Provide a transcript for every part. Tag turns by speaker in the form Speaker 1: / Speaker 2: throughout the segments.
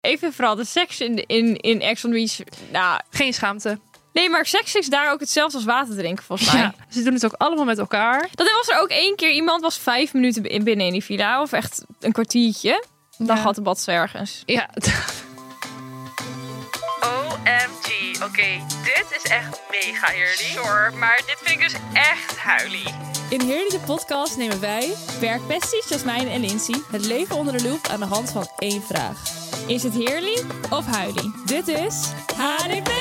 Speaker 1: Ik vind vooral de seks in, in, in Ex on the Beach... Nou,
Speaker 2: Geen schaamte.
Speaker 1: nee, maar seks is daar ook hetzelfde als water drinken, volgens mij.
Speaker 2: Ja. Ze doen het ook allemaal met elkaar.
Speaker 1: Dat was er ook één keer. Iemand was vijf minuten in- binnen in die villa. Of echt een kwartiertje. Dan
Speaker 2: Ja.
Speaker 1: had de bad ergens.
Speaker 2: Ja.
Speaker 3: OMG. Oké, dit is echt mega eerlijk. Sorry, maar dit vind ik dus echt huilie.
Speaker 4: In Heerlijke Podcast nemen wij, werkbesties Jasmijn en Lindsay, het leven onder de loep aan de hand van één vraag.
Speaker 1: Is het heerlijk of huilie?
Speaker 4: Dit is HDP!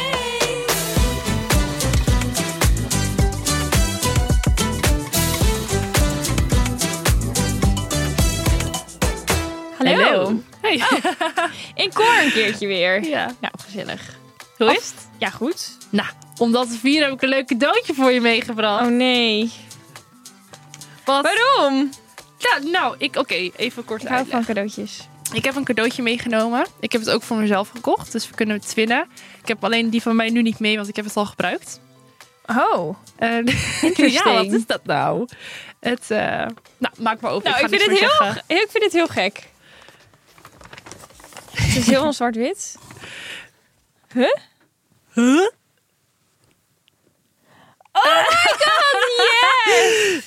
Speaker 1: Hallo.
Speaker 2: Hey.
Speaker 1: In koor een keertje weer.
Speaker 2: Oh, Ja.
Speaker 1: Nou, gezellig.
Speaker 2: Hoe is het?
Speaker 1: Ja, goed.
Speaker 2: Nou, om dat te vieren heb ik een leuk cadeautje voor je meegebracht.
Speaker 1: Oh nee.
Speaker 2: Oh, Wat?
Speaker 1: Waarom?
Speaker 2: Ja, nou, ik... Oké, even kort
Speaker 1: Ik
Speaker 2: uitleg.
Speaker 1: hou van cadeautjes.
Speaker 2: Ik heb een cadeautje meegenomen. Ik heb het ook voor mezelf gekocht, dus we kunnen het twinnen. Ik heb alleen die van mij nu niet mee, want ik heb het al gebruikt.
Speaker 1: Oh.
Speaker 2: Eh,
Speaker 1: Interesting.
Speaker 2: ja, wat is dat nou? Het, eh, nou, maak maar open.
Speaker 1: Nou, ik,
Speaker 2: ga
Speaker 1: vind
Speaker 2: niks
Speaker 1: het
Speaker 2: meer
Speaker 1: heel,
Speaker 2: zeggen.
Speaker 1: ge- ik vind het heel gek. het is heel zwart-wit. Huh?
Speaker 2: Huh?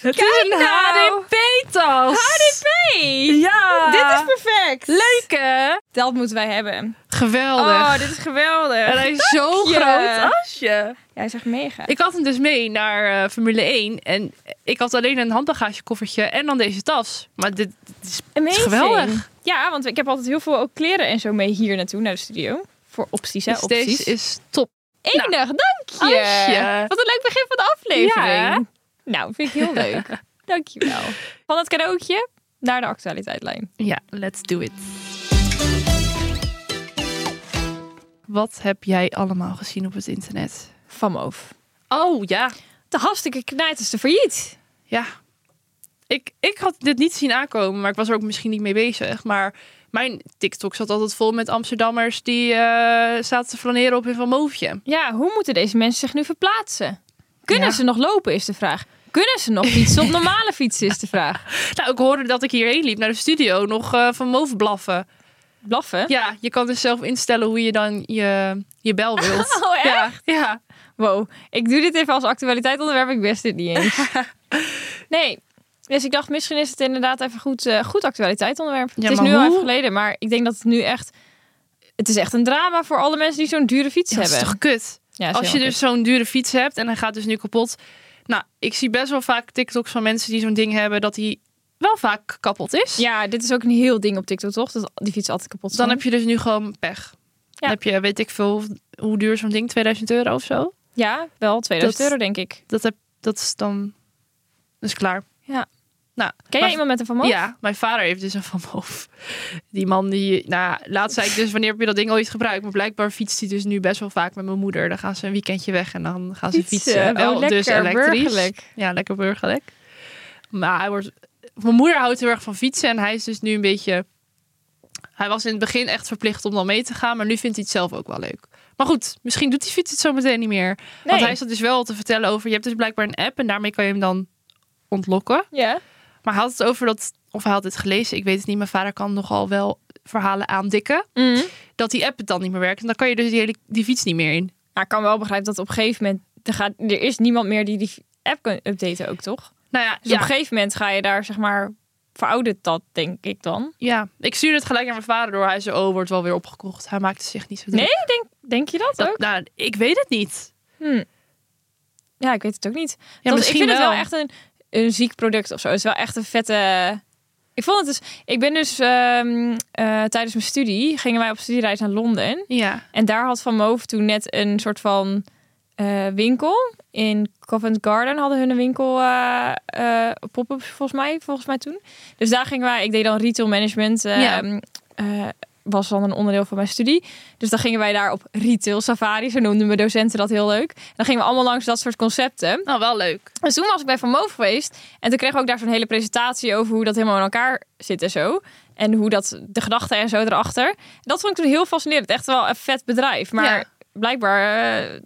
Speaker 2: Het
Speaker 1: Kijk
Speaker 2: is een
Speaker 1: nou.
Speaker 2: HDP-tas.
Speaker 1: HDP!
Speaker 2: Ja.
Speaker 1: Dit is perfect.
Speaker 2: leuk, hè?
Speaker 1: Dat moeten wij hebben.
Speaker 2: Geweldig.
Speaker 1: Oh, dit is geweldig.
Speaker 2: en hij is zo
Speaker 1: Dankje.
Speaker 2: groot asje.
Speaker 1: Jij zegt mega.
Speaker 2: Ik had hem dus mee naar eh, Formule 1. En ik had alleen een handbagagekoffertje en dan deze tas. Maar dit, dit is
Speaker 1: Amazing.
Speaker 2: geweldig.
Speaker 1: Ja, want ik heb altijd heel veel ook kleren en zo mee hier naartoe, naar de studio. Voor opties, hè?
Speaker 2: dus deze
Speaker 1: Opties.
Speaker 2: is top.
Speaker 1: Enig, dank je.
Speaker 2: Asje.
Speaker 1: Nou, Wat een leuk begin van de aflevering.
Speaker 2: Ja, hè?
Speaker 1: Nou, vind ik heel leuk. dank je wel. Van het cadeautje naar de actualiteitlijn.
Speaker 2: Ja, let's do it. Wat heb jij allemaal gezien op het internet?
Speaker 1: Van Moof.
Speaker 2: Oh ja,
Speaker 1: De hartstikke knijt is de failliet.
Speaker 2: ja. Ik, ik had dit niet zien aankomen, maar ik was er ook misschien niet mee bezig. Maar mijn TikTok zat altijd vol met Amsterdammers die eh, zaten te flaneren op hun Van Moofje.
Speaker 1: Ja, hoe moeten deze mensen zich nu verplaatsen? Kunnen
Speaker 2: Ja.
Speaker 1: ze nog lopen, is de vraag. Kunnen ze nog fietsen op normale fietsen, is de vraag.
Speaker 2: Nou, ik hoorde dat ik hierheen liep naar de studio nog eh, Van Moof blaffen.
Speaker 1: Blaffen?
Speaker 2: Ja, je kan dus zelf instellen hoe je dan je, je bel wilt.
Speaker 1: Oh, echt?
Speaker 2: Ja, ja.
Speaker 1: Wow, ik doe dit even als actualiteitonderwerp. Ik wist dit niet eens. nee, dus ik dacht misschien is het inderdaad even goed, eh, goed actualiteitonderwerp.
Speaker 2: Ja,
Speaker 1: het is
Speaker 2: maar
Speaker 1: nu al
Speaker 2: hoe?
Speaker 1: even geleden, maar ik denk dat het nu echt... Het is echt een drama voor alle mensen die zo'n dure fiets
Speaker 2: Dat is
Speaker 1: hebben.
Speaker 2: toch kut?
Speaker 1: Ja, is
Speaker 2: Als je
Speaker 1: helemaal
Speaker 2: dus zo'n dure fiets hebt en hij gaat dus nu kapot. Nou, ik zie best wel vaak TikToks van mensen die zo'n ding hebben dat die wel vaak kapot is.
Speaker 1: kut. Ja, dit is ook een heel ding op TikTok, toch? Dat die fiets altijd kapot
Speaker 2: Dan
Speaker 1: zijn.
Speaker 2: heb je dus nu gewoon pech. Dan heb je, weet ik veel, hoe duur zo'n ding? 2000 euro of zo?
Speaker 1: Ja, wel 2000
Speaker 2: Dat-
Speaker 1: euro, denk ik.
Speaker 2: Dat, heb, dat is dan... Dat is klaar.
Speaker 1: Ja.
Speaker 2: Nou,
Speaker 1: Ken jij
Speaker 2: maar-
Speaker 1: iemand met een Van Moof?
Speaker 2: Ja, mijn vader heeft dus een Van Moof. Die man die... Nou, laatst zei ik dus, wanneer heb je dat ding ooit gebruikt? Maar blijkbaar fietst hij dus nu best wel vaak met mijn moeder. Dan gaan ze een weekendje weg en dan gaan ze
Speaker 1: Fietsen.
Speaker 2: fietsen.
Speaker 1: Oh,
Speaker 2: Wel
Speaker 1: lekker,
Speaker 2: dus elektrisch.
Speaker 1: burgerlijk.
Speaker 2: Ja, lekker burgerlijk. Maar hij wordt... Mijn moeder houdt heel erg van fietsen en hij is dus nu een beetje... Hij was in het begin echt verplicht om dan mee te gaan, maar nu vindt hij het zelf ook wel leuk. Maar goed, misschien doet die fiets het zo meteen niet meer. Want
Speaker 1: Nee.
Speaker 2: hij zat dus wel te vertellen over... Je hebt dus blijkbaar een app en daarmee kan je hem dan ontlokken.
Speaker 1: Ja.
Speaker 2: Maar hij had het over dat, of hij had het gelezen, ik weet het niet. Mijn vader kan nogal wel verhalen aandikken.
Speaker 1: Mm.
Speaker 2: Dat die app het dan niet meer werkt. En dan kan je dus die, hele, die fiets niet meer in.
Speaker 1: Maar ik kan wel begrijpen dat op een gegeven moment... Er, gaat, er is niemand meer die die app kan updaten ook, toch?
Speaker 2: Nou ja,
Speaker 1: Dus
Speaker 2: ja,
Speaker 1: op een gegeven moment ga je daar, zeg maar, verouderd dat, denk ik dan.
Speaker 2: ja, ik stuurde het gelijk naar mijn vader door. Hij zei, oh, wordt wel weer opgekocht. Hij maakte zich niet zo druk.
Speaker 1: Nee, denk, denk je dat,
Speaker 2: Dat-
Speaker 1: ook?
Speaker 2: nou, ik weet het niet.
Speaker 1: Ja, ik weet het ook niet.
Speaker 2: Ja,
Speaker 1: Dat- ik
Speaker 2: misschien
Speaker 1: vind het wel
Speaker 2: wel.
Speaker 1: echt een, een ziek product of zo. Het is wel echt een vette... eh, Ik vond het dus... Ik ben dus ehm, eh, tijdens mijn studie... gingen wij op studiereis naar Londen.
Speaker 2: Ja,
Speaker 1: En daar had Van Moof toen net een soort van eh, winkel. In Covent Garden hadden hun een winkel eh eh, pop-up volgens mij, volgens mij toen. Dus daar gingen wij, ik deed dan retail management. eh,
Speaker 2: Ja.
Speaker 1: eh, was dan een onderdeel van mijn studie. Dus dan gingen wij daar op retail safari. Zo noemden mijn docenten dat heel leuk. En dan gingen we allemaal langs dat soort concepten.
Speaker 2: nou wel leuk.
Speaker 1: Dus toen was ik bij Van Moof geweest. En toen kregen we ook daar zo'n hele presentatie over hoe dat helemaal in elkaar zit en zo. En hoe dat, de gedachten en zo erachter. Dat vond ik toen heel fascinerend. Echt wel een vet bedrijf. Maar
Speaker 2: Ja.
Speaker 1: blijkbaar eh,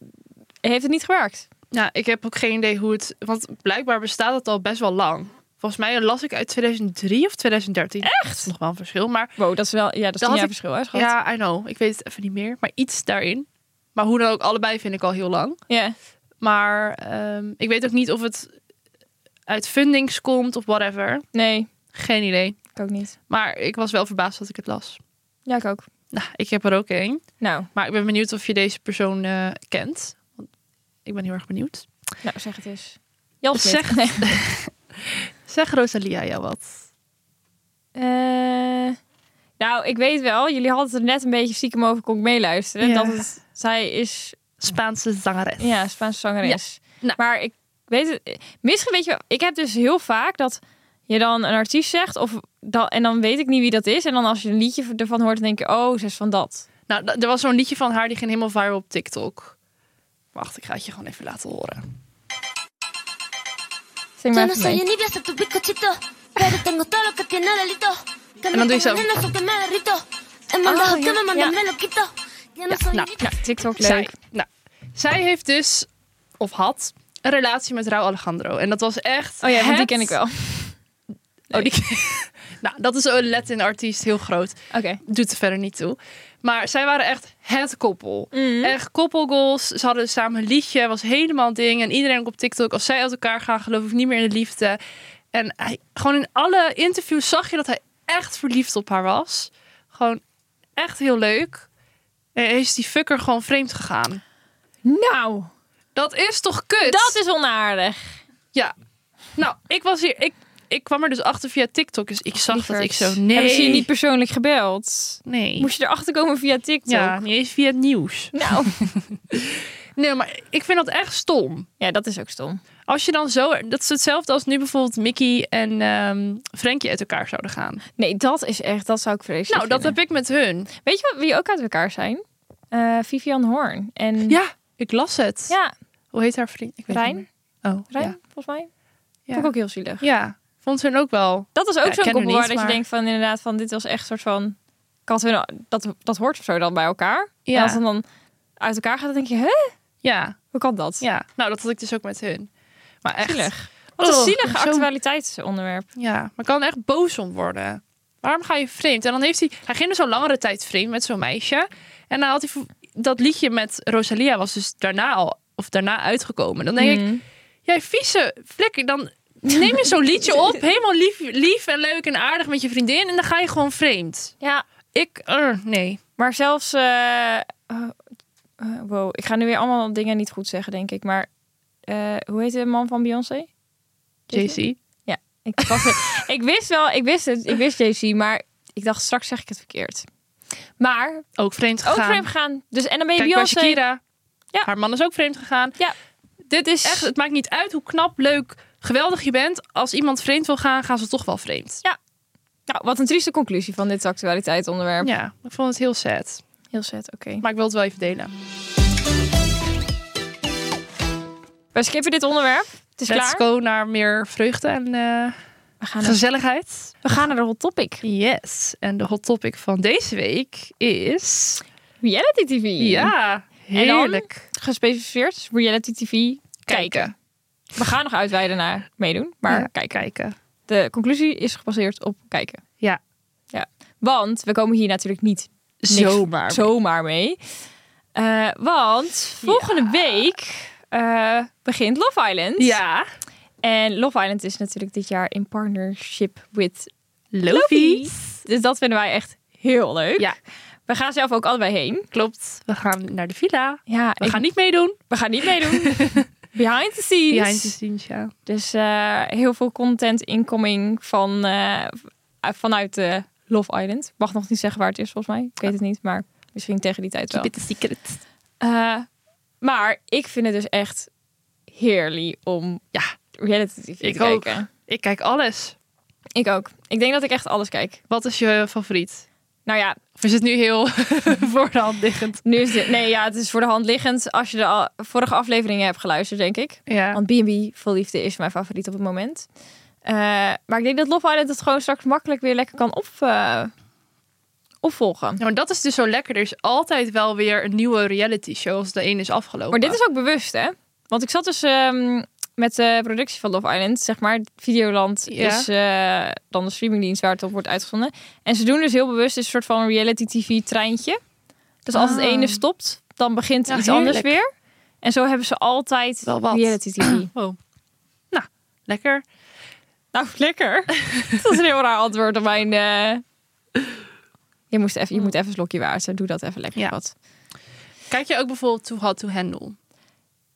Speaker 1: heeft het niet gewerkt.
Speaker 2: Nou, ik heb ook geen idee hoe het... Want blijkbaar bestaat het al best wel lang. Volgens mij las ik uit 2003 of 2013. Echt? Nog wel een verschil. Maar
Speaker 1: Wow, dat is wel... Ja, dat is
Speaker 2: Dat
Speaker 1: tien
Speaker 2: had
Speaker 1: jaar
Speaker 2: ik-
Speaker 1: verschil, hè, schat?
Speaker 2: ja, I know. Ik weet het even niet meer. Maar iets daarin. Maar hoe dan ook, allebei vind ik al heel lang.
Speaker 1: Ja.
Speaker 2: Maar ehm, ik weet ook niet of het uit fundings komt of whatever.
Speaker 1: Nee,
Speaker 2: Geen idee.
Speaker 1: ik ook niet.
Speaker 2: Maar ik was wel verbaasd dat ik het las.
Speaker 1: Ja, ik ook.
Speaker 2: Nou, ik heb er ook één.
Speaker 1: Nou,
Speaker 2: Maar ik ben benieuwd of je deze persoon eh, kent. Want ik ben heel erg benieuwd.
Speaker 1: nou zeg het eens. Jan Smit.
Speaker 2: Zeg-
Speaker 1: Nee.
Speaker 2: Zeg Rosalia jou wat?
Speaker 1: Eh, nou, ik weet wel. Jullie hadden het er net een beetje stiekem over, kon ik meeluisteren.
Speaker 2: Ja.
Speaker 1: Dat het, zij is
Speaker 2: Spaanse zangeres.
Speaker 1: ja, Spaanse zangeres.
Speaker 2: Nou.
Speaker 1: Maar ik weet het... Misschien weet je wel, Ik heb dus heel vaak dat je dan een artiest zegt... Of dan, en dan weet ik niet wie dat is. En dan als je een liedje ervan hoort, dan denk je... Oh, ze is van dat.
Speaker 2: Nou, d- er was zo'n liedje van haar die ging helemaal viral op TikTok. Wacht, ik ga het je gewoon even laten horen.
Speaker 1: Zing maar
Speaker 5: Yo no
Speaker 1: even mee.
Speaker 5: soy un nibio, soy tu bizcochito. Pero tengo todo lo que tiene delito. Que me
Speaker 2: no te hizo.
Speaker 5: pongan en eso que me derrito. En
Speaker 1: Ah,
Speaker 5: mandajo
Speaker 1: ya,
Speaker 5: que me mandan
Speaker 1: ya.
Speaker 5: me lo quito. Yo no
Speaker 2: Ja,
Speaker 5: soy
Speaker 2: nou,
Speaker 5: un-
Speaker 1: Nou, TikTok leuk.
Speaker 2: Zij, nou, zij heeft dus, of had, een relatie met Rauw Alejandro. En dat was echt...
Speaker 1: Oh ja, want die
Speaker 2: het-
Speaker 1: ken ik wel.
Speaker 2: Oh, die nou, dat is een Latin artiest, heel groot.
Speaker 1: Oké.
Speaker 2: Doet er verder niet toe. Maar zij waren echt het koppel.
Speaker 1: Mhm.
Speaker 2: Echt koppelgoals. Ze hadden samen een liedje. was helemaal een ding. En iedereen ook op TikTok. Als zij uit elkaar gaan, geloof ik niet meer in de liefde. En hij, gewoon in alle interviews zag je dat hij echt verliefd op haar was. Gewoon echt heel leuk. En is die fucker gewoon vreemd gegaan.
Speaker 1: Nou,
Speaker 2: Dat is toch kut?
Speaker 1: dat is onaardig.
Speaker 2: Ja. Nou, ik was hier... Ik, ik kwam er dus achter via TikTok. Dus ik zag dat ik
Speaker 1: Lieverd.
Speaker 2: zo... Nee.
Speaker 1: Hebben ze je niet persoonlijk gebeld?
Speaker 2: Nee.
Speaker 1: Moest je erachter komen via TikTok?
Speaker 2: Ja, niet eens via het nieuws.
Speaker 1: Nou,
Speaker 2: Nee, maar ik vind dat echt stom.
Speaker 1: ja, dat is ook stom.
Speaker 2: Als je dan zo... Dat is hetzelfde als nu bijvoorbeeld Mickey en ehm Frankie uit elkaar zouden gaan.
Speaker 1: Nee, dat is echt, dat zou ik vreselijk
Speaker 2: nou, dat heb ik met hun.
Speaker 1: ik... Weet je wat, wie ook uit elkaar zijn? Eh, Vivian Horn en...
Speaker 2: Ja, ik las het.
Speaker 1: Ja,
Speaker 2: Hoe heet haar vriend? Ik weet het
Speaker 1: Rijn.
Speaker 2: niet meer. Oh,
Speaker 1: Rijn,
Speaker 2: ja.
Speaker 1: volgens mij.
Speaker 2: Ja.
Speaker 1: Vond ik ook heel zielig.
Speaker 2: Ja, vond hun ook wel.
Speaker 1: Dat is ook
Speaker 2: Ja, ik
Speaker 1: zo'n
Speaker 2: ken
Speaker 1: koppel
Speaker 2: haar
Speaker 1: waar
Speaker 2: niet,
Speaker 1: dat je
Speaker 2: maar-
Speaker 1: denkt van inderdaad van dit was echt soort van... Ik had hun, dat, dat hoort of zo dan bij elkaar.
Speaker 2: Ja.
Speaker 1: En als het dan uit elkaar gaat, dan denk je, hè?
Speaker 2: Ja,
Speaker 1: Hoe kan dat?
Speaker 2: ja. Nou, dat had ik dus ook met hun. Maar echt...
Speaker 1: Zielig. Wat een
Speaker 2: Oh,
Speaker 1: zielig
Speaker 2: zo-
Speaker 1: actualiteitsonderwerp.
Speaker 2: Ja, maar ik kan er echt boos om worden. Waarom ga je vreemd? En dan heeft hij... Hij ging dus al langere tijd vreemd met zo'n meisje. En dan had hij... voor- Dat liedje met Rosalia was dus daarna al... Of daarna uitgekomen. Dan denk ik...
Speaker 1: Mm.
Speaker 2: jij vieze flikker, dan neem je zo'n liedje op, helemaal lief, lief en leuk en aardig met je vriendin en dan ga je gewoon vreemd.
Speaker 1: Ja,
Speaker 2: Ik, eh, nee.
Speaker 1: maar zelfs... eh, oh, eh, wow, ik ga nu weer allemaal dingen niet goed zeggen, denk ik. Maar eh, hoe heet de man van Beyoncé?
Speaker 2: JC.
Speaker 1: Ik, was het- ik wist wel, ik wist het, ik wist JC, maar ik dacht straks zeg ik het verkeerd. Maar
Speaker 2: Ook vreemd
Speaker 1: ook
Speaker 2: gegaan.
Speaker 1: vreemd gaan. Dus en dan ben je
Speaker 2: Kijk bij
Speaker 1: Beyoncé.
Speaker 2: Shakira.
Speaker 1: Ja.
Speaker 2: Haar man is ook vreemd gegaan.
Speaker 1: Ja.
Speaker 2: Dit is echt, het maakt niet uit hoe knap, leuk, geweldig je bent. Als iemand vreemd wil gaan, gaan ze toch wel vreemd.
Speaker 1: Nou, wat een trieste conclusie van dit actualiteitsonderwerp.
Speaker 2: Ja, ik vond het heel sad.
Speaker 1: Heel zet, oké.
Speaker 2: Maar ik wil het wel even delen.
Speaker 1: We skippen dit onderwerp. Het is
Speaker 2: Let's
Speaker 1: klaar. Ah,
Speaker 2: go naar meer vreugde en eh,
Speaker 1: We, gaan naar,
Speaker 2: gezelligheid.
Speaker 1: we gaan naar de hot topic.
Speaker 2: Yes. En de hot topic van deze week is...
Speaker 1: Reality TV.
Speaker 2: Ja,
Speaker 1: En dan?
Speaker 2: heerlijk.
Speaker 1: Gespecificeerd reality TV kijken.
Speaker 2: Kijken.
Speaker 1: We gaan nog uitweiden naar meedoen, maar
Speaker 2: Ja,
Speaker 1: kijken.
Speaker 2: kijken.
Speaker 1: De conclusie is gebaseerd op kijken.
Speaker 2: Ja.
Speaker 1: ja. Want we komen hier natuurlijk niet niks
Speaker 2: Zomaar.
Speaker 1: zomaar mee. Eh, want volgende week eh, begint Love Island.
Speaker 2: Ja.
Speaker 1: En Love Island is natuurlijk dit jaar in partnership with
Speaker 2: Lofi.
Speaker 1: Dus dat vinden wij echt heel leuk.
Speaker 2: Ja.
Speaker 1: We gaan zelf ook allebei heen.
Speaker 2: Klopt. We gaan naar de villa.
Speaker 1: Ja,
Speaker 2: We
Speaker 1: ik-
Speaker 2: gaan niet meedoen.
Speaker 1: we gaan niet meedoen. Behind the scenes.
Speaker 2: Behind the scenes, ja.
Speaker 1: Dus eh, heel veel content incoming van, eh, vanuit eh, Love Island. Mag nog niet zeggen waar het is volgens mij. Ik weet het niet, maar misschien tegen die tijd wel.
Speaker 2: Keep it a secret.
Speaker 1: Eh, maar ik vind het dus echt heerlijk om
Speaker 2: Ja,
Speaker 1: reality TV te
Speaker 2: Ik ook.
Speaker 1: kijken.
Speaker 2: ik kijk alles.
Speaker 1: Ik ook. Ik denk dat ik echt alles kijk.
Speaker 2: Wat is je favoriet?
Speaker 1: Nou ja,
Speaker 2: Of is het nu heel voor de hand liggend?
Speaker 1: nu is dit, nee, ja, het is voor de hand liggend als je de al- vorige afleveringen hebt geluisterd, denk ik.
Speaker 2: Ja.
Speaker 1: Want B&B Vol Liefde is mijn favoriet op het moment. Eh, maar ik denk dat Love Island het gewoon straks makkelijk weer lekker kan op, eh, opvolgen.
Speaker 2: Ja, maar dat is dus zo lekker. Er is altijd wel weer een nieuwe reality show als de een is afgelopen.
Speaker 1: Maar dit is ook bewust, hè? Want ik zat dus ehm, met de productie van Love Island, zeg maar, Videoland
Speaker 2: Ja.
Speaker 1: is eh, dan de streamingdienst waar het op wordt uitgezonden. En ze doen dus heel bewust een soort van reality tv treintje. Dus als het
Speaker 2: Ah.
Speaker 1: ene stopt, dan begint
Speaker 2: Ja,
Speaker 1: iets
Speaker 2: heerlijk.
Speaker 1: anders weer. En zo hebben ze altijd
Speaker 2: Wel wat.
Speaker 1: reality tv.
Speaker 2: Oh. Nou, lekker.
Speaker 1: nou, lekker. dat is een heel raar antwoord op mijn... eh, Je, moest even, je moet even een slokje water. Doe dat even lekker
Speaker 2: Mm. Ja.
Speaker 1: wat.
Speaker 2: Kijk je ook bijvoorbeeld Too Hot To Handle?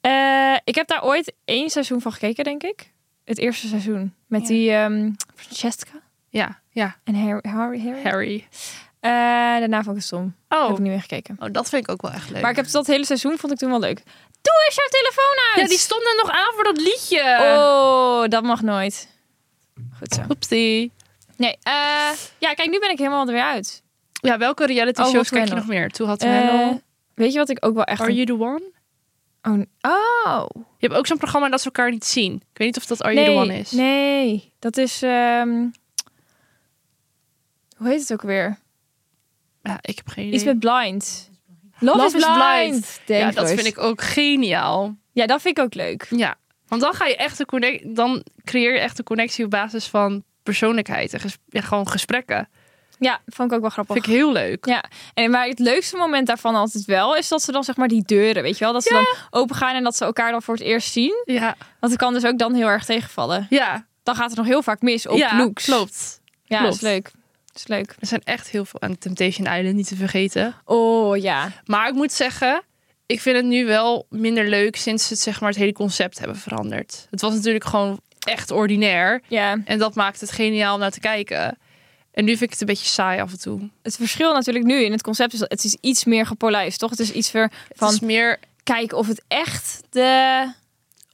Speaker 1: Eh, ik heb daar ooit één seizoen van gekeken, denk ik. Het eerste seizoen. Met
Speaker 2: Ja.
Speaker 1: die ehm, Francesca
Speaker 2: Ja, ja.
Speaker 1: en Harry. Harry, Harry.
Speaker 2: Harry.
Speaker 1: Eh, daarna vond ik het stom. Heb
Speaker 2: Oh.
Speaker 1: ik niet meer gekeken.
Speaker 2: oh, dat vind ik ook wel echt leuk.
Speaker 1: Maar ik heb dat hele seizoen vond ik toen wel leuk. Doe eens jouw telefoon uit!
Speaker 2: Ja, die stonden nog aan voor dat liedje.
Speaker 1: Oh, dat mag nooit. Goed zo.
Speaker 2: Oepsie.
Speaker 1: Nee, eh, ja, kijk, nu ben ik helemaal er weer uit.
Speaker 2: Ja, welke reality
Speaker 1: Oh, Hot
Speaker 2: shows
Speaker 1: to
Speaker 2: kijk je nog
Speaker 1: Handle.
Speaker 2: meer? Too Hot To
Speaker 1: Eh,
Speaker 2: Handle?
Speaker 1: weet je wat ik ook wel echt...
Speaker 2: Are You The One?
Speaker 1: Oh, oh.
Speaker 2: Je hebt ook zo'n programma dat ze elkaar niet zien. Ik weet niet of dat Are
Speaker 1: nee,
Speaker 2: You The One is.
Speaker 1: Nee, dat is... ehm, Hoe heet het ook weer?
Speaker 2: Ja, ik heb geen idee.
Speaker 1: Iets met blind. Love,
Speaker 2: Love
Speaker 1: is,
Speaker 2: is
Speaker 1: blind.
Speaker 2: blind.
Speaker 1: Denk
Speaker 2: ja, dat
Speaker 1: eens.
Speaker 2: vind ik ook geniaal.
Speaker 1: Ja, dat vind ik ook leuk.
Speaker 2: Ja, want dan ga je echt een connect, dan creëer je echt een connectie op basis van persoonlijkheid en ges- ja, gewoon gesprekken.
Speaker 1: Ja, vond ik ook wel grappig.
Speaker 2: Vind ik heel leuk.
Speaker 1: Ja, en maar het leukste moment daarvan altijd wel is dat ze dan zeg maar die deuren, weet je wel, dat ze dan open gaan en dat ze elkaar dan voor het eerst zien.
Speaker 2: Ja,
Speaker 1: Want het kan dus ook dan heel erg tegenvallen.
Speaker 2: ja,
Speaker 1: Dan gaat het nog heel vaak mis op
Speaker 2: ja
Speaker 1: looks.
Speaker 2: klopt.
Speaker 1: Ja,
Speaker 2: klopt.
Speaker 1: is leuk. Is leuk.
Speaker 2: Er zijn echt heel veel aan Temptation Island niet te vergeten.
Speaker 1: Oh ja.
Speaker 2: Maar ik moet zeggen, ik vind het nu wel minder leuk sinds ze het, zeg maar, het hele concept hebben veranderd. Het was natuurlijk gewoon echt ordinair
Speaker 1: Ja,
Speaker 2: en dat maakt het geniaal om naar te kijken. En nu vind ik het een beetje saai af en toe.
Speaker 1: het verschil natuurlijk nu in het concept is dat het is iets meer gepolijst, toch? Het is iets meer
Speaker 2: Het
Speaker 1: van
Speaker 2: is meer
Speaker 1: kijken of het echt de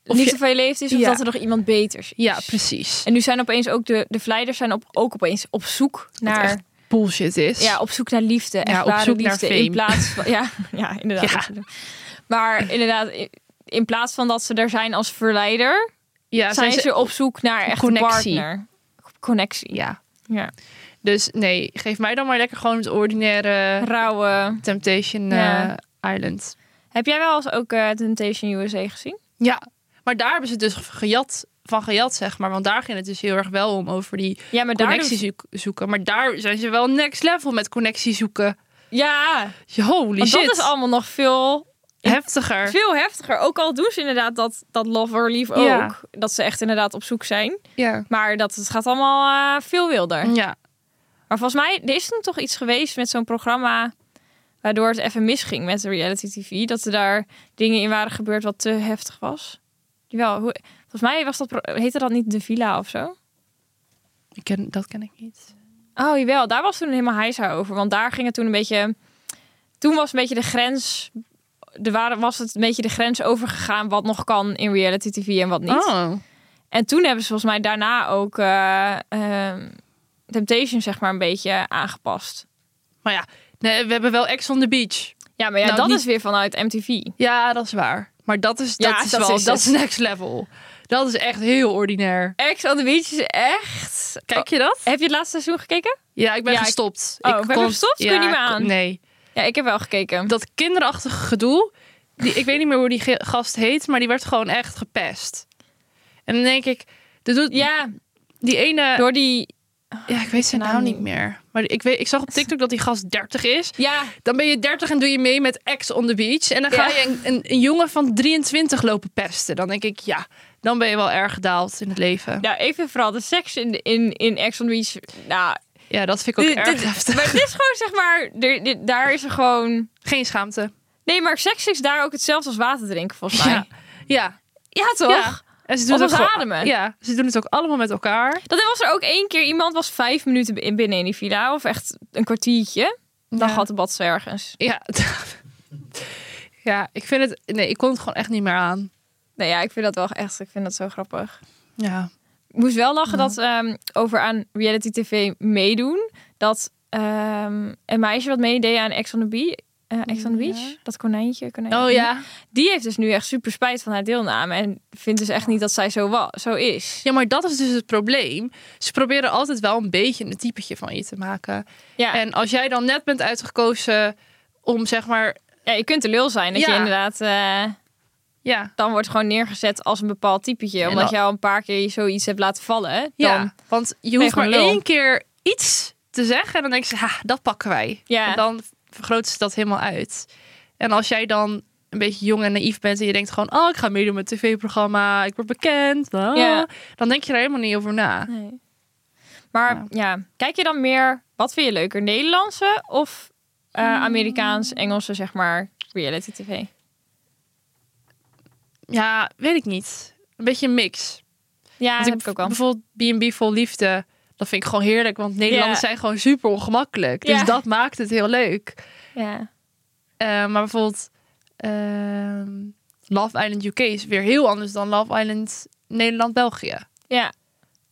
Speaker 2: Of
Speaker 1: liefde
Speaker 2: je-
Speaker 1: van je leven is of
Speaker 2: Ja.
Speaker 1: dat er nog iemand beters is.
Speaker 2: ja, precies.
Speaker 1: En nu zijn opeens ook de, de vleiders zijn op, ook opeens op zoek naar,
Speaker 2: echt Bullshit is.
Speaker 1: ja, op zoek naar liefde. Echt
Speaker 2: Ja, op
Speaker 1: ware
Speaker 2: zoek naar
Speaker 1: liefde.
Speaker 2: fame.
Speaker 1: In plaats van, ja, ja, inderdaad.
Speaker 2: Ja.
Speaker 1: op zoek naar- Maar inderdaad, in- in plaats van dat ze er zijn als verleider,
Speaker 2: ja
Speaker 1: zijn, ze op zoek naar echt
Speaker 2: Connectie.
Speaker 1: een partner. Connectie.
Speaker 2: Ja.
Speaker 1: Ja.
Speaker 2: Dus nee, geef mij dan maar lekker gewoon het ordinaire
Speaker 1: Rauwe.
Speaker 2: Temptation eh,
Speaker 1: Ja.
Speaker 2: Island.
Speaker 1: Heb jij wel eens ook eh, Temptation USA gezien?
Speaker 2: Ja, maar daar hebben ze het dus gejat, van gejat, zeg maar. Want daar ging het dus heel erg wel om over die
Speaker 1: Ja, maar daar
Speaker 2: connectie zoek- zoeken. Maar daar zijn ze wel next level met connectie zoeken.
Speaker 1: Ja,
Speaker 2: Holy
Speaker 1: want
Speaker 2: shit,
Speaker 1: dat is allemaal nog veel
Speaker 2: heftiger.
Speaker 1: Veel heftiger. Ook al doen ze inderdaad dat, dat love or leave ook.
Speaker 2: Ja.
Speaker 1: Dat ze echt inderdaad op zoek zijn.
Speaker 2: Ja.
Speaker 1: Maar dat, het gaat allemaal eh, veel wilder.
Speaker 2: ja,
Speaker 1: Maar volgens mij, er is toen toch iets geweest met zo'n programma... waardoor het even misging met de reality tv. Dat er daar dingen in waren gebeurd wat te heftig was. Jawel, hoe, volgens mij was dat, pro- heette dat niet De Villa of zo?
Speaker 2: ik ken, dat ken ik niet.
Speaker 1: Oh, jawel. Daar was toen helemaal heisa over. Want daar ging het toen een beetje... Toen was een beetje de grens... Er waren, was het een beetje de grens overgegaan wat nog kan in reality tv en wat niet.
Speaker 2: Oh,
Speaker 1: En toen hebben ze volgens mij daarna ook eh, ehm, Temptation zeg maar een beetje aangepast.
Speaker 2: maar ja, nee, we hebben wel Ex on the Beach.
Speaker 1: Ja, maar ja,
Speaker 2: Nou,
Speaker 1: dat
Speaker 2: niet-
Speaker 1: is weer vanuit MTV.
Speaker 2: Ja, dat is waar. Maar dat is, dat
Speaker 1: Ja,
Speaker 2: is,
Speaker 1: dat
Speaker 2: wel,
Speaker 1: is
Speaker 2: dat
Speaker 1: het.
Speaker 2: is next level. Dat is echt heel ordinair.
Speaker 1: Ex on the Beach is echt...
Speaker 2: Kijk je dat?
Speaker 1: Oh, heb je het laatste seizoen gekeken?
Speaker 2: Ja, ik ben
Speaker 1: Ja, ik-
Speaker 2: gestopt.
Speaker 1: Oh, ben je gestopt? Kun je niet meer
Speaker 2: ik-
Speaker 1: aan?
Speaker 2: Nee.
Speaker 1: Ja, ik heb wel gekeken.
Speaker 2: Dat kinderachtige gedoe. Die, ik weet niet meer hoe die ge- gast heet, maar die werd gewoon echt gepest. En dan denk ik, dat doet
Speaker 1: Ja,
Speaker 2: die ene...
Speaker 1: door die...
Speaker 2: ja, ik weet zijn
Speaker 1: naam
Speaker 2: naam
Speaker 1: niet.
Speaker 2: niet meer. Maar ik, weet, ik zag op TikTok dat die gast 30 is.
Speaker 1: Ja,
Speaker 2: Dan ben je 30 en doe je mee met Ex on the Beach. En dan ga
Speaker 1: Ja.
Speaker 2: je een, een, een jongen van 23 lopen pesten. Dan denk ik, ja, dan ben je wel erg gedaald in het leven.
Speaker 1: nou even vooral de seks in, in, in Ex on the Beach. Nou,
Speaker 2: Ja, dat vind ik ook
Speaker 1: dit-
Speaker 2: erg
Speaker 1: dit-
Speaker 2: heftig.
Speaker 1: maar het is gewoon zeg maar... er- dit- daar is er gewoon...
Speaker 2: Geen schaamte.
Speaker 1: Nee, maar seks is daar ook hetzelfde als water drinken volgens mij.
Speaker 2: Ja.
Speaker 1: Ja,
Speaker 2: Ja.
Speaker 1: toch?
Speaker 2: Ja. En ze doen
Speaker 1: Of
Speaker 2: het
Speaker 1: als
Speaker 2: ook gewoon-
Speaker 1: ademen.
Speaker 2: Ja, ze doen het ook allemaal met elkaar.
Speaker 1: Dat was er ook één keer. Iemand was vijf minuten in- binnen in die villa. Of echt een kwartiertje. Dan
Speaker 2: Ja.
Speaker 1: gaat de bad ergens.
Speaker 2: Ja. ja, ik vind het... Nee, ik kon het gewoon echt niet meer aan.
Speaker 1: Nee, ja, ik vind dat wel echt. Ik vind dat zo grappig.
Speaker 2: Ja.
Speaker 1: Ik moest wel lachen dat ehm, over aan reality tv meedoen. Dat ehm, een meisje wat meedeed aan Ex on the Beach. eh, Ex on the Beach, dat konijntje, konijntje.
Speaker 2: Oh ja.
Speaker 1: Die heeft dus nu echt super spijt van haar deelname. En vindt dus echt niet dat zij zo, wa- zo is.
Speaker 2: Ja, maar dat is dus het probleem. Ze proberen altijd wel een beetje een typetje van je te maken.
Speaker 1: Ja,
Speaker 2: En als jij dan net bent uitgekozen om zeg maar...
Speaker 1: ja je kunt de lul zijn. Dat
Speaker 2: Ja.
Speaker 1: je inderdaad... eh,
Speaker 2: Ja.
Speaker 1: dan wordt gewoon neergezet als een bepaald typetje. Omdat
Speaker 2: dat-
Speaker 1: je al een paar keer iets hebt laten vallen. hè, Dan,
Speaker 2: ja. Want je
Speaker 1: je
Speaker 2: hoeft maar
Speaker 1: gewoon lul.
Speaker 2: één keer iets te zeggen en dan denk ze, ha, dat pakken wij.
Speaker 1: Ja.
Speaker 2: En dan vergroten ze dat helemaal uit. En als jij dan een beetje jong en naïef bent en je denkt gewoon, oh, ik ga meedoen met een tv-programma, ik word bekend, ah,
Speaker 1: Ja.
Speaker 2: dan denk je er helemaal niet over na.
Speaker 1: Nee. Maar ja. kijk je dan meer, wat vind je leuker? Nederlandse of eh,
Speaker 2: Mm.
Speaker 1: Amerikaans, Engelse, zeg maar, reality tv?
Speaker 2: Ja, weet ik niet. Een beetje een mix.
Speaker 1: Ja, dat
Speaker 2: Want
Speaker 1: heb ik ook wel.
Speaker 2: Bijvoorbeeld B&B vol liefde. Dat vind ik gewoon heerlijk, want Nederlanders
Speaker 1: Ja.
Speaker 2: zijn gewoon super ongemakkelijk. Dus
Speaker 1: Ja.
Speaker 2: dat maakt het heel leuk.
Speaker 1: Ja.
Speaker 2: Eh, maar bijvoorbeeld ehm, Love Island UK is weer heel anders dan Love Island Nederland-België.
Speaker 1: ja.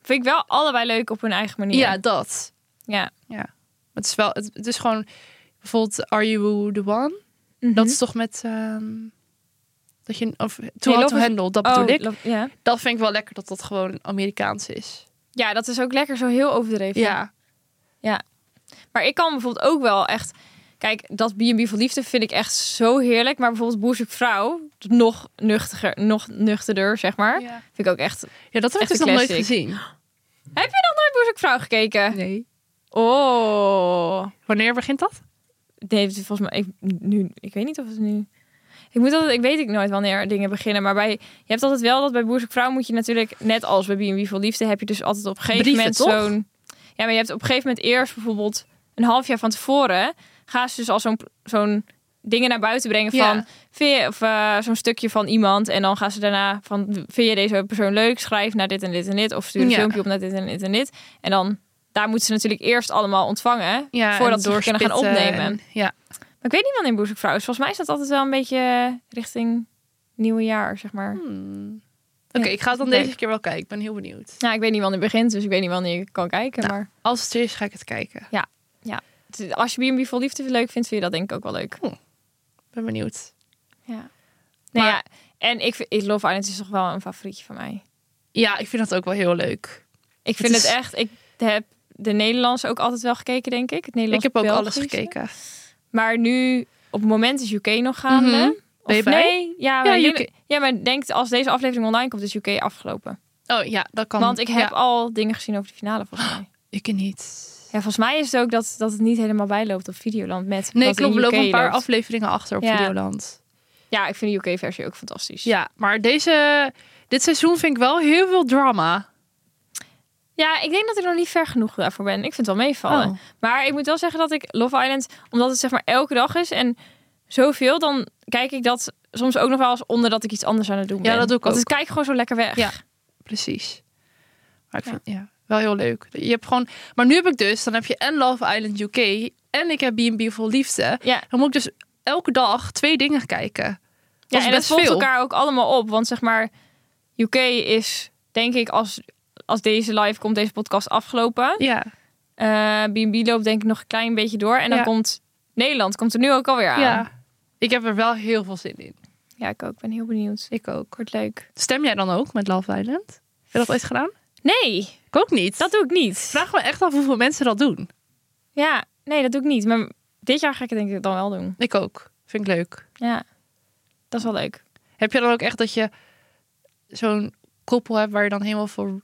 Speaker 1: Vind ik wel allebei leuk op hun eigen manier.
Speaker 2: Ja, dat.
Speaker 1: ja.
Speaker 2: Het is wel, het, het is gewoon bijvoorbeeld Are You the One? Dat
Speaker 1: Mhm.
Speaker 2: is toch met ehm, dat je of To How
Speaker 1: Love
Speaker 2: to
Speaker 1: is-
Speaker 2: Handle. Dat
Speaker 1: Mhm.
Speaker 2: bedoel
Speaker 1: Oh,
Speaker 2: ik.
Speaker 1: lo- ja.
Speaker 2: Dat vind ik wel lekker dat dat gewoon Amerikaans is.
Speaker 1: ja, dat is ook lekker zo heel overdreven.
Speaker 2: Ja,
Speaker 1: Maar ik kan bijvoorbeeld ook wel echt... Kijk, dat B&B voor liefde vind ik echt zo heerlijk. Maar bijvoorbeeld Boer zoekt vrouw, nog nuchtiger, nog nuchterder, zeg maar.
Speaker 2: ja.
Speaker 1: Vind ik ook echt...
Speaker 2: dat heb ik
Speaker 1: Echt
Speaker 2: dus
Speaker 1: een
Speaker 2: nog nooit
Speaker 1: classic.
Speaker 2: gezien.
Speaker 1: Heb je nog nooit Boer zoekt vrouw gekeken?
Speaker 2: Nee.
Speaker 1: Oh.
Speaker 2: Wanneer begint dat?
Speaker 1: Nee, het is volgens mij. Ik, nu, ik weet niet of het nu. Ik moet altijd, ik weet ik nooit wanneer dingen beginnen. Maar bij, je hebt altijd wel dat bij Boer Zoekt Vrouw moet je natuurlijk, net als bij B&B voor Liefde, heb je dus altijd op een gegeven
Speaker 2: Brieven,
Speaker 1: moment
Speaker 2: toch?
Speaker 1: zo'n. Ja, maar je hebt op een gegeven moment eerst bijvoorbeeld een half jaar van tevoren. Gaan ze dus al zo'n zo'n dingen naar buiten brengen
Speaker 2: Ja.
Speaker 1: van. Vind je, of eh, zo'n stukje van iemand. En dan gaan ze daarna van. Vind je deze persoon leuk? Schrijf naar dit en dit en dit. Of stuur een
Speaker 2: Ja.
Speaker 1: filmpje op naar dit en dit en dit. En dan. Daar moeten ze natuurlijk eerst allemaal ontvangen.
Speaker 2: Ja,
Speaker 1: voordat
Speaker 2: en
Speaker 1: ze kunnen gaan
Speaker 2: doorspitten
Speaker 1: opnemen.
Speaker 2: en- ja.
Speaker 1: Maar ik weet niet wanneer in Boezekvrouw is. Volgens mij is dat altijd wel een beetje eh, richting nieuwe jaar, zeg maar.
Speaker 2: Hmm. Oké,
Speaker 1: Ja.
Speaker 2: ik ga het dan
Speaker 1: Leuk.
Speaker 2: deze keer wel kijken. Ik ben heel benieuwd.
Speaker 1: Nou, ik weet niet wanneer het begint, dus ik weet niet wanneer ik kan kijken. Maar
Speaker 2: Als het er is, ga ik het kijken.
Speaker 1: het- als je B&B Vol Liefde leuk vindt, vind je dat denk ik ook wel leuk.
Speaker 2: Ik ben benieuwd.
Speaker 1: Ja. Nou
Speaker 2: Maar-
Speaker 1: ja, en ik vind ik- Love Island is toch wel een favorietje van mij.
Speaker 2: Ja, ik vind dat ook wel heel leuk.
Speaker 1: Ik vind het,
Speaker 2: is-
Speaker 1: echt... Ik heb de Nederlandse ook altijd wel gekeken, denk ik. Het
Speaker 2: Ik
Speaker 1: Nederlands
Speaker 2: heb ook alles
Speaker 1: Belgische.
Speaker 2: gekeken.
Speaker 1: Maar nu, op het moment is UK nog gaande.
Speaker 2: Mhm. Ben je
Speaker 1: Of
Speaker 2: bij?
Speaker 1: nee? Ja, maar,
Speaker 2: Ja,
Speaker 1: ik denk-
Speaker 2: UK.
Speaker 1: ja, maar denk als deze aflevering online komt, is UK afgelopen.
Speaker 2: Oh ja, dat kan.
Speaker 1: Want ik heb
Speaker 2: Ja,
Speaker 1: al dingen gezien over de finale, volgens mij.
Speaker 2: ik niet.
Speaker 1: Ja, volgens mij is het ook dat, dat het niet helemaal bijloopt op Videoland met
Speaker 2: Nee,
Speaker 1: wat
Speaker 2: klopt.
Speaker 1: in
Speaker 2: We
Speaker 1: UK
Speaker 2: lopen een paar
Speaker 1: loopt.
Speaker 2: afleveringen achter op
Speaker 1: Ja.
Speaker 2: Videoland.
Speaker 1: Ja, ik vind de UK-versie ook fantastisch.
Speaker 2: Ja, maar deze, dit seizoen vind ik wel heel veel drama.
Speaker 1: Ja, ik denk dat ik nog niet ver genoeg daarvoor ben. Ik vind het wel meevallen.
Speaker 2: Oh.
Speaker 1: Maar ik moet wel zeggen dat ik Love Island, omdat het zeg maar elke dag is en zoveel, dan kijk ik dat soms ook nog wel eens onder dat ik iets anders aan het doen
Speaker 2: Ja,
Speaker 1: ben.
Speaker 2: dat doe ik
Speaker 1: Want
Speaker 2: ook.
Speaker 1: het kijkt gewoon zo lekker weg.
Speaker 2: Ja. Precies. Maar ik vind ja, wel heel leuk. Je hebt gewoon, maar nu heb ik dus, dan heb je en Love Island UK en ik heb B&B Vol Liefde.
Speaker 1: Ja.
Speaker 2: Dan moet ik dus elke dag twee dingen kijken.
Speaker 1: Ja,
Speaker 2: Dat is
Speaker 1: en dat
Speaker 2: best
Speaker 1: volgt
Speaker 2: veel.
Speaker 1: elkaar ook allemaal op. Want zeg maar, UK is denk ik als, als deze live komt, deze podcast afgelopen.
Speaker 2: Ja.
Speaker 1: Eh, B&B loopt denk ik nog een klein beetje door. En dan
Speaker 2: Ja.
Speaker 1: komt Nederland komt er nu ook alweer aan.
Speaker 2: Ja. Ik heb er wel heel veel zin in.
Speaker 1: Ja, ik ook. ben heel benieuwd.
Speaker 2: Ik ook.
Speaker 1: Wordt leuk.
Speaker 2: Stem jij dan ook met Love Island? Heb je dat ooit gedaan?
Speaker 1: Nee,
Speaker 2: Ik ook niet.
Speaker 1: dat doe ik niet.
Speaker 2: Vraag me echt af hoeveel mensen dat doen.
Speaker 1: Ja, nee, dat doe ik niet. Maar dit jaar ga ik het denk ik dan wel doen.
Speaker 2: Ik ook. Vind ik leuk.
Speaker 1: Ja, dat is wel leuk.
Speaker 2: Heb je dan ook echt dat je zo'n koppel hebt waar je dan helemaal voor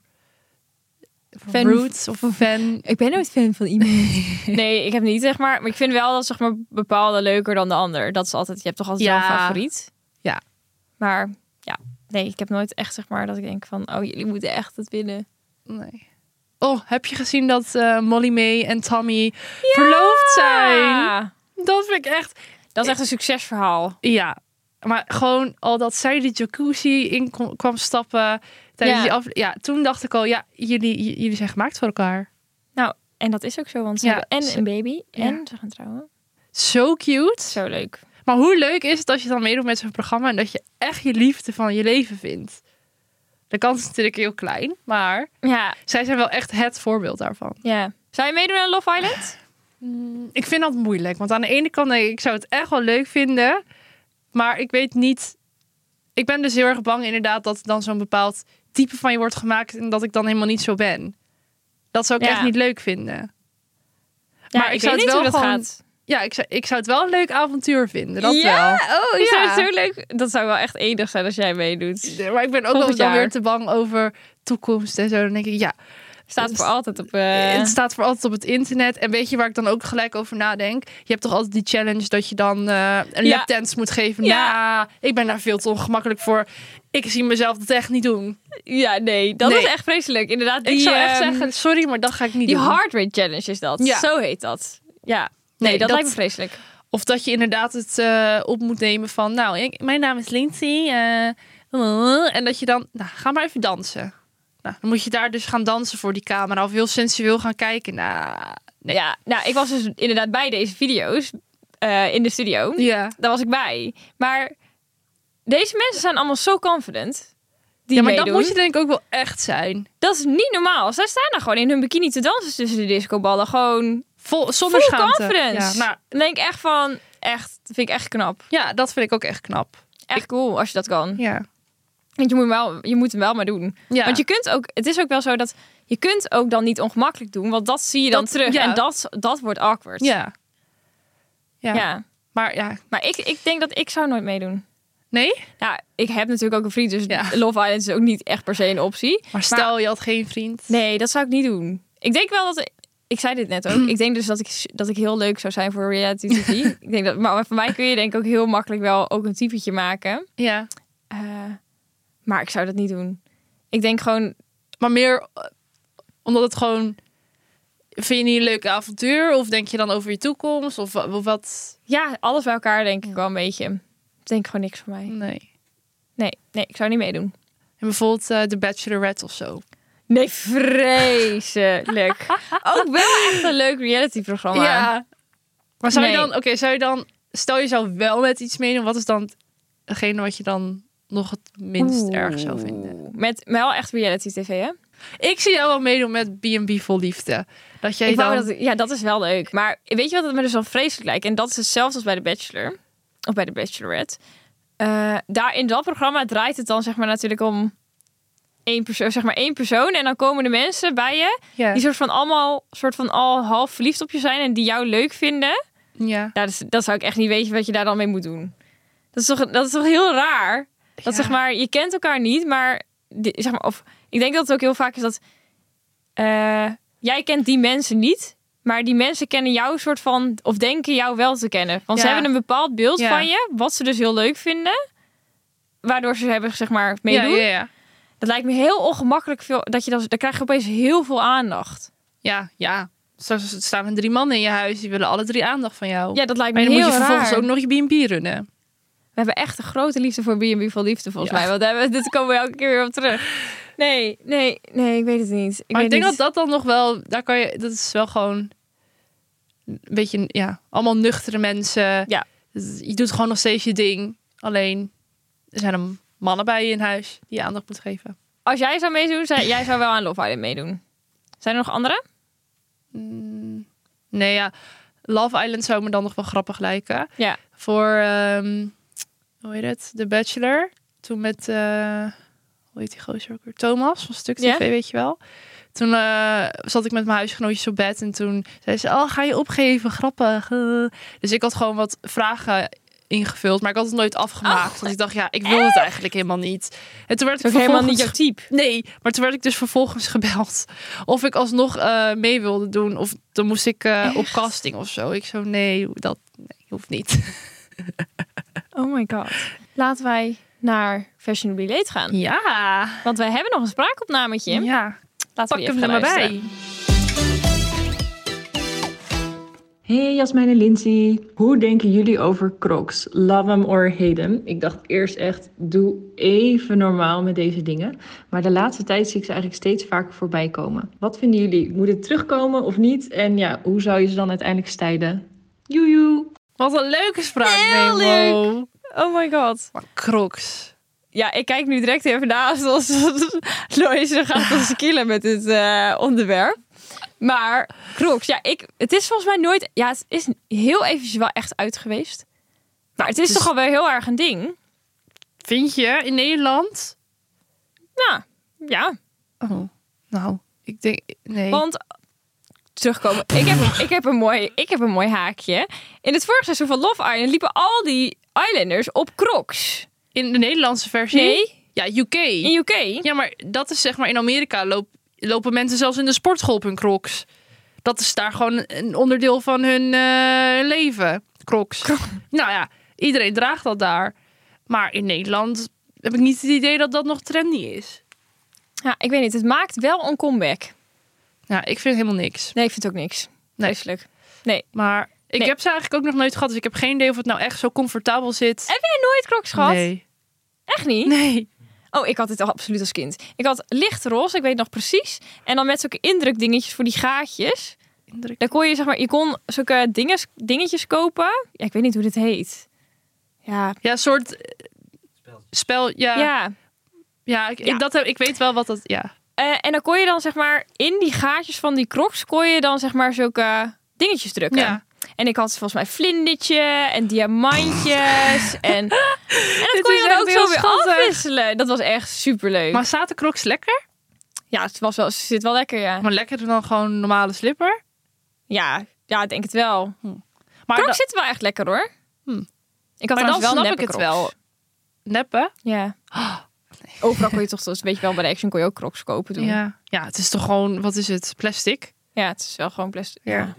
Speaker 2: voor
Speaker 1: Fan-
Speaker 2: roots of een fan...
Speaker 1: Ik ben nooit fan van iemand. nee, ik heb niet, zeg maar. Maar ik vind wel dat zeg maar, bepaalde leuker dan de ander. Dat is altijd, je hebt toch altijd wel
Speaker 2: Ja.
Speaker 1: een favoriet.
Speaker 2: Ja.
Speaker 1: Maar ja, nee, ik heb nooit echt, zeg maar, dat ik denk van, oh, jullie moeten echt het winnen.
Speaker 2: Nee. Oh, heb je gezien dat eh, Molly May en Tommy verloofd zijn?
Speaker 1: Ja.
Speaker 2: Dat vind ik echt...
Speaker 1: Dat is echt een succesverhaal.
Speaker 2: Ja, maar gewoon al dat zij die jacuzzi in kom- kwam stappen tijdens
Speaker 1: Ja.
Speaker 2: die af... Ja, toen dacht ik al, ja, jullie, j- jullie zijn gemaakt voor elkaar.
Speaker 1: Nou, en dat is ook zo, want ze
Speaker 2: Ja,
Speaker 1: hebben en
Speaker 2: ze-
Speaker 1: een baby
Speaker 2: ja.
Speaker 1: en ze gaan trouwen.
Speaker 2: Zo cute.
Speaker 1: Zo leuk.
Speaker 2: Maar hoe leuk is het als je dan meedoet met zo'n programma en dat je echt je liefde van je leven vindt? De kans is natuurlijk heel klein, maar
Speaker 1: Ja,
Speaker 2: zij zijn wel echt het voorbeeld daarvan.
Speaker 1: Ja. Zou je meedoen aan Love Island?
Speaker 2: Ik vind dat moeilijk, want aan de ene kant denk ik, ik zou het echt wel leuk vinden, maar ik weet niet. Ik ben dus heel erg bang inderdaad dat er dan zo'n bepaald type van je wordt gemaakt en dat ik dan helemaal niet zo ben. Dat zou ik
Speaker 1: Ja.
Speaker 2: echt niet leuk vinden.
Speaker 1: Ja,
Speaker 2: Maar ik zou het wel
Speaker 1: hoe dat
Speaker 2: gewoon-
Speaker 1: gaat.
Speaker 2: ja, ik zou, ik zou het wel een leuk avontuur vinden. Dat
Speaker 1: ja,
Speaker 2: wel.
Speaker 1: oh, ik zou
Speaker 2: Ja.
Speaker 1: het zo leuk. Dat zou wel echt enig zijn als jij meedoet.
Speaker 2: Nee, Maar ik ben ook
Speaker 1: Volgend
Speaker 2: wel dan
Speaker 1: jaar.
Speaker 2: weer te bang over toekomst en zo. Dan denk ik, ja,
Speaker 1: Staat voor altijd op. eh,
Speaker 2: Dus het staat voor altijd op het internet. En weet je waar ik dan ook gelijk over nadenk? Je hebt toch altijd die challenge dat je dan eh, een
Speaker 1: Ja.
Speaker 2: lapdance moet geven?
Speaker 1: Ja.
Speaker 2: Nou, ik ben daar veel te ongemakkelijk voor. Ik zie mezelf dat echt niet doen.
Speaker 1: Ja, nee, dat
Speaker 2: Nee.
Speaker 1: is echt vreselijk. Inderdaad, die,
Speaker 2: ik zou echt
Speaker 1: ehm,
Speaker 2: zeggen, sorry, maar dat ga ik niet
Speaker 1: Die
Speaker 2: doen.
Speaker 1: hard rate challenge is dat.
Speaker 2: Ja.
Speaker 1: Zo heet dat. Ja. Nee,
Speaker 2: Nee,
Speaker 1: dat,
Speaker 2: dat-
Speaker 1: lijkt me vreselijk.
Speaker 2: Of dat je inderdaad het eh, op moet nemen van, nou, ik- mijn naam is Lindsay. eh, en dat je dan, nou, ga maar even dansen. Nou, dan moet je daar dus gaan dansen voor die camera of heel sensueel gaan kijken. Nou, nee.
Speaker 1: Ja, nou, ik was dus inderdaad bij deze video's eh, in de studio.
Speaker 2: Ja.
Speaker 1: Daar was ik bij. Maar deze mensen zijn allemaal zo confident. Die
Speaker 2: ja, maar dat
Speaker 1: meedoen.
Speaker 2: moet je denk ik ook wel echt zijn.
Speaker 1: Dat is niet normaal. Zij staan daar gewoon in hun bikini te dansen tussen de discoballen. Gewoon
Speaker 2: Vol, zonder
Speaker 1: full
Speaker 2: schaamte.
Speaker 1: confidence.
Speaker 2: Ja, nou,
Speaker 1: Dan denk ik echt van, echt, dat vind ik echt knap.
Speaker 2: ja, dat vind ik ook echt knap.
Speaker 1: Echt cool als je dat kan.
Speaker 2: Ja.
Speaker 1: Want je moet, hem wel, je moet hem wel maar doen.
Speaker 2: Ja.
Speaker 1: Want je kunt ook, het is ook wel zo dat je kunt ook dan niet ongemakkelijk doen, want dat zie je dan
Speaker 2: Dat-
Speaker 1: terug
Speaker 2: ja.
Speaker 1: en dat, dat wordt awkward.
Speaker 2: Ja. ja.
Speaker 1: Ja.
Speaker 2: Maar ja,
Speaker 1: Maar ik, ik denk dat ik zou nooit meedoen.
Speaker 2: nee.
Speaker 1: Ja, ik heb natuurlijk ook een vriend, dus
Speaker 2: Ja.
Speaker 1: Love Island is ook niet echt per se een optie.
Speaker 2: Maar stel je had geen vriend.
Speaker 1: Nee, dat zou ik niet doen. Ik denk wel dat ik zei dit net ook. Ik denk dus dat ik, dat ik heel leuk zou zijn voor reality TV. ik denk dat, maar voor mij kun je denk ik ook heel makkelijk wel ook een typetje maken.
Speaker 2: Ja.
Speaker 1: Eh, maar ik zou dat niet doen. Ik denk gewoon
Speaker 2: Maar meer eh, omdat het gewoon. Vind je niet een leuk avontuur? Of denk je dan over je toekomst? Of, wa- of wat?
Speaker 1: Ja, alles bij elkaar denk ik wel een beetje. Ik denk gewoon niks voor mij.
Speaker 2: Nee.
Speaker 1: Nee, nee, ik zou niet meedoen.
Speaker 2: En bijvoorbeeld eh The Bachelorette of zo.
Speaker 1: Nee, vreselijk. Ook wel echt een leuk realityprogramma.
Speaker 2: Maar zou je
Speaker 1: Oh, Nee.
Speaker 2: dan, oké, zou je dan, stel je zou wel met iets meedoen, wat is dan hetgene wat je dan nog het minst erg zou vinden?
Speaker 1: Met maar wel echt reality tv, hè?
Speaker 2: Ik zie jou wel meedoen met B&B vol liefde. Dat jij
Speaker 1: Ik wou
Speaker 2: dan...
Speaker 1: dat, ja, dat is wel leuk. Maar weet je wat het me dus al vreselijk lijkt? En dat is hetzelfde als bij The Bachelor. Of bij The Bachelorette. Eh, daar in dat programma draait het dan zeg maar natuurlijk om één persoon, zeg maar één persoon. En dan komen de mensen bij je
Speaker 2: Ja.
Speaker 1: die soort van allemaal soort van al half verliefd op je zijn en die jou leuk vinden.
Speaker 2: ja.
Speaker 1: Ja, dat, is- dat zou ik echt niet weten wat je daar dan mee moet doen. Dat is toch, dat is toch heel raar? Dat
Speaker 2: Ja.
Speaker 1: zeg maar, je kent elkaar niet, maar, di- zeg maar of, ik denk dat het ook heel vaak is dat eh, jij kent die mensen niet, maar die mensen kennen jou soort van, of denken jou wel te kennen. Want ze
Speaker 2: Ja.
Speaker 1: hebben een bepaald beeld
Speaker 2: Ja.
Speaker 1: van je, wat ze dus heel leuk vinden, waardoor ze hebben zeg maar meedoen.
Speaker 2: Ja, ja, ja.
Speaker 1: Dat lijkt me heel ongemakkelijk veel, dat je dan, dan krijg je opeens heel veel aandacht.
Speaker 2: Ja, ja. Straks staan er drie mannen in je huis, die willen alle drie aandacht van jou.
Speaker 1: Ja, dat lijkt me
Speaker 2: en dan
Speaker 1: heel
Speaker 2: moet je vervolgens
Speaker 1: raar.
Speaker 2: ook nog je B&B runnen.
Speaker 1: We hebben echt een grote liefde voor B&B van Liefde, volgens mij. Want daar hebben, dit komen we elke keer weer op terug. Nee, nee, nee, ik weet het niet. Ik
Speaker 2: maar ik
Speaker 1: weet
Speaker 2: denk
Speaker 1: niet.
Speaker 2: dat dat dan nog wel, daar kan je, dat is wel gewoon een beetje, ja, allemaal nuchtere mensen.
Speaker 1: Ja.
Speaker 2: Dus Je doet gewoon nog steeds je ding. Alleen, er zijn er mannen bij je in huis die je aandacht moet geven.
Speaker 1: Als jij zou meedoen, zou, jij zou wel aan Love Island meedoen. Zijn er nog andere?
Speaker 2: Mm, Nee, ja, Love Island zou me dan nog wel grappig lijken.
Speaker 1: Ja.
Speaker 2: Voor, ehm, hoe heet het, The Bachelor. Toen met, eh, hoe heet die gozer ook weer? Thomas van Stuk TV,
Speaker 1: Ja.
Speaker 2: weet je wel. Toen eh, zat ik met mijn huisgenootjes op bed en toen zei ze, oh, ga je opgeven, grappig. eh." Dus ik had gewoon wat vragen ingevuld, maar ik had het nooit afgemaakt. want ik dacht, ja, ik wil het eigenlijk helemaal niet. En toen werd ik
Speaker 1: Dat is ook helemaal niet
Speaker 2: vervolgens-
Speaker 1: jouw type.
Speaker 2: Nee, maar toen werd ik dus vervolgens gebeld of ik alsnog eh, mee wilde doen. Of dan moest ik eh, op casting of zo. Ik zo, nee, dat nee, hoeft niet.
Speaker 1: Oh my god. Laten wij naar Fashionably Late gaan.
Speaker 2: Ja,
Speaker 1: Want wij hebben nog een spraakopnametje.
Speaker 2: ja.
Speaker 1: Laten
Speaker 2: pak
Speaker 1: we die
Speaker 2: hem
Speaker 1: even
Speaker 2: er maar
Speaker 1: gaan
Speaker 2: bij.
Speaker 1: luisteren.
Speaker 6: Hey Jasmijn en Lindsay, hoe denken jullie over Crocs? Love 'em or hate 'em? Ik dacht eerst echt, doe even normaal met deze dingen. Maar de laatste tijd zie ik ze eigenlijk steeds vaker voorbij komen. Wat vinden jullie? Moet het terugkomen of niet? En ja, hoe zou je ze dan uiteindelijk stijden? Joejoe!
Speaker 2: Wat een leuke spraak,
Speaker 1: Heel
Speaker 2: Memo.
Speaker 1: Oh my god.
Speaker 2: Maar crocs.
Speaker 1: Ja, ik kijk nu direct even naast ons. Loïse gaat ons killen met dit eh, onderwerp. Maar Crocs, ja, ik, het is volgens mij nooit... Ja, het is heel eventjes wel echt uit geweest. Maar het is
Speaker 2: het is-
Speaker 1: toch al wel heel erg een ding.
Speaker 2: Vind je in Nederland?
Speaker 1: Nou, ja.
Speaker 2: Oh, nou, ik denk, nee.
Speaker 1: Want terugkomen. Ik heb, ik, heb een mooi, ik heb een mooi haakje. In het vorige seizoen van Love Island liepen al die Islanders op crocs.
Speaker 2: In de Nederlandse versie?
Speaker 1: Nee,
Speaker 2: Ja, UK.
Speaker 1: in UK.
Speaker 2: Ja, maar dat is zeg maar in Amerika loop, lopen mensen zelfs in de sportschool op hun crocs. Dat is daar gewoon een onderdeel van hun eh, leven. Crocs. Nou ja, iedereen draagt dat daar. Maar in Nederland heb ik niet het idee dat dat nog trendy is.
Speaker 1: Ja, ik weet niet, het maakt wel een comeback.
Speaker 2: Ja, ik vind helemaal niks.
Speaker 1: Nee, ik vind het ook niks.
Speaker 2: Nee.
Speaker 1: Vreselijk.
Speaker 2: Maar ik
Speaker 1: Nee.
Speaker 2: heb ze eigenlijk ook nog nooit gehad. Dus ik heb geen idee of het nou echt zo comfortabel zit.
Speaker 1: Heb jij nooit crocs gehad?
Speaker 2: Nee.
Speaker 1: Echt niet?
Speaker 2: Nee.
Speaker 1: Oh, ik had dit al absoluut als kind. Ik had licht roze, ik weet nog precies. En dan met zulke indrukdingetjes voor die gaatjes.
Speaker 2: Indruk.
Speaker 1: Daar kon je, zeg maar, je kon zulke dinges, dingetjes kopen. Ja, ik weet niet hoe dit heet. Ja,
Speaker 2: Ja, een soort eh, spel. Ja, ja.
Speaker 1: ja.
Speaker 2: ik, ik-
Speaker 1: Ja.
Speaker 2: Dat heb, ik weet wel wat dat... Ja.
Speaker 1: Eh, en dan kon je dan, zeg maar, in die gaatjes van die crocs... kon je dan, zeg maar, zulke dingetjes drukken.
Speaker 2: ja.
Speaker 1: En ik had volgens mij vlindertje en diamantjes. en, en dat
Speaker 2: Dit
Speaker 1: kon
Speaker 2: is
Speaker 1: je dan
Speaker 2: echt
Speaker 1: ook
Speaker 2: heel
Speaker 1: zo weer
Speaker 2: schattig.
Speaker 1: afwisselen. Dat was echt superleuk.
Speaker 2: Maar zaten crocs lekker?
Speaker 1: ja, het was wel, zit wel lekker, ja.
Speaker 2: Maar lekkerder dan gewoon een normale slipper.
Speaker 1: Ja, ja, ik denk het wel.
Speaker 2: Maar
Speaker 1: Crocs
Speaker 2: da-
Speaker 1: zit wel echt lekker hoor. Hm.
Speaker 2: Hmm.
Speaker 1: Ik had
Speaker 2: Maar
Speaker 1: trouwens
Speaker 2: dan
Speaker 1: wel
Speaker 2: snap
Speaker 1: neppe
Speaker 2: ik het
Speaker 1: Crocs.
Speaker 2: wel. neppen.
Speaker 1: Ja. Overal kon je toch, dus weet je wel, bij de Action kon je ook crocs kopen toen. Ja,
Speaker 2: Ja. ja, het is toch gewoon, wat is het? Plastic?
Speaker 1: het is wel gewoon plastic.
Speaker 2: Ja.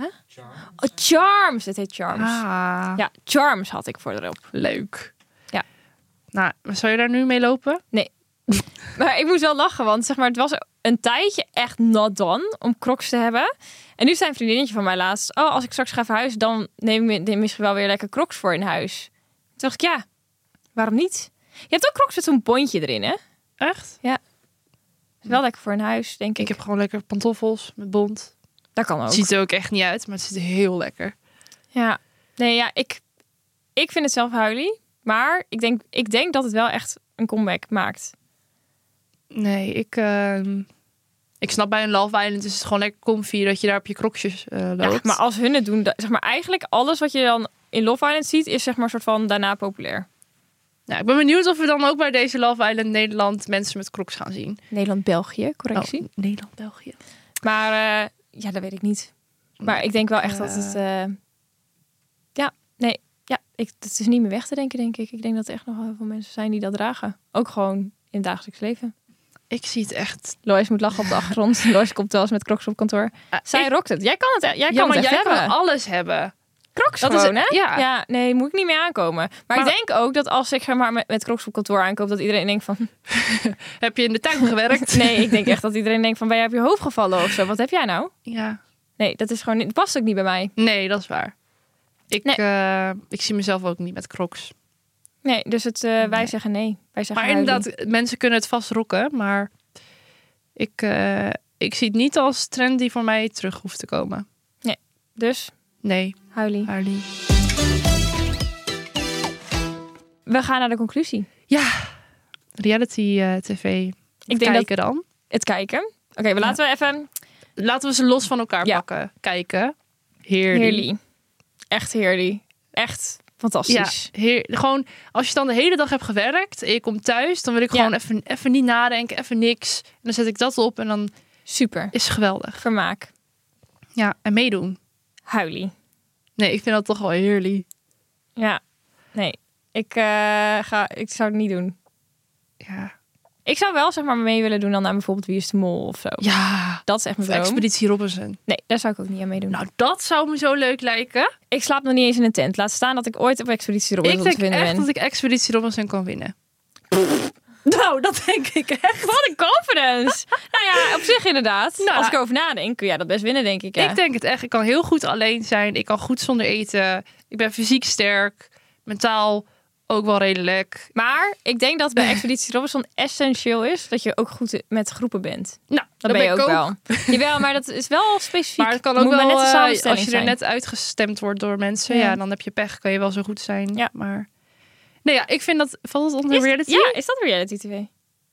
Speaker 1: Oh, Charms! Het heet Charms.
Speaker 2: Ah,
Speaker 1: Ja, Charms had ik voor erop.
Speaker 2: leuk.
Speaker 1: Ja.
Speaker 2: Nou, zou je daar nu mee lopen?
Speaker 1: Maar ik moest wel lachen, want zeg maar, het was een tijdje echt not done om crocs te hebben. En nu zei een vriendinnetje van mij laatst, oh, als ik straks ga verhuizen, dan neem ik mi- misschien wel weer lekker crocs voor in huis. Toen dacht ik, ja, waarom niet? Je hebt ook crocs met zo'n bondje erin, hè?
Speaker 2: Echt?
Speaker 1: Is wel lekker voor in huis, denk
Speaker 2: Ik heb gewoon lekker pantoffels met bont.
Speaker 1: Dat kan ook.
Speaker 2: Het ziet er ook echt niet uit, maar het ziet er heel lekker.
Speaker 1: Ja, nee, ja, ik, ik vind het zelf huilie. Maar ik denk, ik denk dat het wel echt een comeback maakt.
Speaker 2: Nee, ik, ehm, ik snap bij een Love Island is het gewoon lekker comfy dat je daar op je crocsjes eh,
Speaker 1: Ja,
Speaker 2: loopt.
Speaker 1: maar als hun het doen, dat- zeg maar eigenlijk alles wat je dan in Love Island ziet, is zeg maar soort van daarna populair.
Speaker 2: Nou, ik ben benieuwd of we dan ook bij deze Love Island Nederland mensen met crocs gaan zien.
Speaker 1: Nederland-België, correctie.
Speaker 2: Oh, Nederland, België.
Speaker 1: Maar eh, ja, dat weet ik niet. Maar ik denk wel echt dat het. eh, ja, nee. Ja, ik, het is niet meer weg te denken, denk ik. Ik denk dat er echt nog wel heel veel mensen zijn die dat dragen. Ook gewoon in het dagelijks leven.
Speaker 2: Ik zie het echt.
Speaker 1: Lois moet lachen op de achtergrond. Lois komt wel eens met crocs op kantoor. Zij
Speaker 2: Ah, Ik-
Speaker 1: rokt het. Jij kan het, jij
Speaker 2: ja,
Speaker 1: kan
Speaker 2: maar
Speaker 1: het echt
Speaker 2: jij
Speaker 1: hebben.
Speaker 2: kan alles hebben.
Speaker 1: Crocs
Speaker 2: Dat is-
Speaker 1: gewoon, hè?
Speaker 2: ja.
Speaker 1: nee, moet ik niet meer aankomen. Maar,
Speaker 2: Maar-
Speaker 1: ik denk ook dat als ik zeg maar met, met Crocs op kantoor aankoop, dat iedereen denkt van...
Speaker 2: Heb je in de tuin gewerkt?
Speaker 1: Nee, ik denk echt dat iedereen denkt van, ben jij op je hoofd gevallen of zo? Wat heb jij nou?
Speaker 2: Ja.
Speaker 1: Nee, dat is gewoon, niet- het past ook niet bij mij.
Speaker 2: Nee, dat is waar. Ik,
Speaker 1: Nee.
Speaker 2: eh, ik zie mezelf ook niet met crocs.
Speaker 1: Nee, dus het, eh, wij zeggen nee. Wij zeggen
Speaker 2: Maar
Speaker 1: huilie.
Speaker 2: inderdaad, mensen kunnen het vast rocken. Maar ik, eh, ik zie het niet als trend die voor mij terug hoeft te komen.
Speaker 1: Dus,
Speaker 2: Nee,
Speaker 1: huilie.
Speaker 2: Harley.
Speaker 1: We gaan naar de conclusie.
Speaker 2: Ja, reality eh, tv.
Speaker 1: Ik denk
Speaker 2: kijken dan.
Speaker 1: Het kijken. Oké, we laten we even...
Speaker 2: Laten we ze los van elkaar
Speaker 1: Ja.
Speaker 2: pakken. Kijken. Heerlijk.
Speaker 1: Heerly. Echt heerly. Echt fantastisch.
Speaker 2: Ja, heer, gewoon als je dan de hele dag hebt gewerkt en je komt thuis, dan wil ik
Speaker 1: Ja.
Speaker 2: gewoon even, even niet nadenken, even niks. En dan zet ik dat op en dan
Speaker 1: Super.
Speaker 2: is het geweldig.
Speaker 1: Vermaak.
Speaker 2: Ja, en meedoen.
Speaker 1: Huilie.
Speaker 2: Nee, ik vind dat toch wel heerlijk.
Speaker 1: Ja. Nee, ik, eh, ga, ik zou het niet doen.
Speaker 2: Ja.
Speaker 1: Ik zou wel zeg maar mee willen doen dan aan bijvoorbeeld Wie is de Mol of zo.
Speaker 2: Ja.
Speaker 1: Dat is echt mijn
Speaker 2: Of
Speaker 1: droom.
Speaker 2: Expeditie Robinson.
Speaker 1: Nee, daar zou ik ook niet aan meedoen.
Speaker 2: Nou, dat zou me zo leuk lijken.
Speaker 1: ik slaap nog niet eens in een tent. Laat staan dat ik ooit op Expeditie Robinson
Speaker 2: ik
Speaker 1: te
Speaker 2: denk
Speaker 1: vinden
Speaker 2: echt
Speaker 1: ben.
Speaker 2: dat ik Expeditie Robinson kan winnen.
Speaker 4: Nou, dat denk ik echt.
Speaker 1: Wat een confidence! nou ja, op zich inderdaad.
Speaker 2: Nou,
Speaker 1: Als ik erover nadenk, kun jij dat best winnen, denk ik. Ja.
Speaker 2: Ik denk het echt. Ik kan heel goed alleen zijn. Ik kan goed zonder eten. Ik ben fysiek sterk. Mentaal ook wel redelijk.
Speaker 1: Maar ik denk dat bij Expeditie Robinson essentieel is dat je ook goed met groepen bent.
Speaker 2: Nou,
Speaker 1: Dat, ben je ook, wel. Jawel, maar dat is wel specifiek.
Speaker 2: Maar het kan
Speaker 1: Moet
Speaker 2: ook wel,
Speaker 1: maar net de
Speaker 2: eh,
Speaker 1: samenstelling
Speaker 2: als je er
Speaker 1: zijn.
Speaker 2: net uitgestemd wordt door mensen, ja.
Speaker 1: Ja.
Speaker 2: dan heb je pech, kan je wel zo goed zijn.
Speaker 1: Ja.
Speaker 2: Maar nee, ja, ik vind dat valt het onder
Speaker 1: Is-
Speaker 2: reality.
Speaker 1: Ja, is dat reality tv?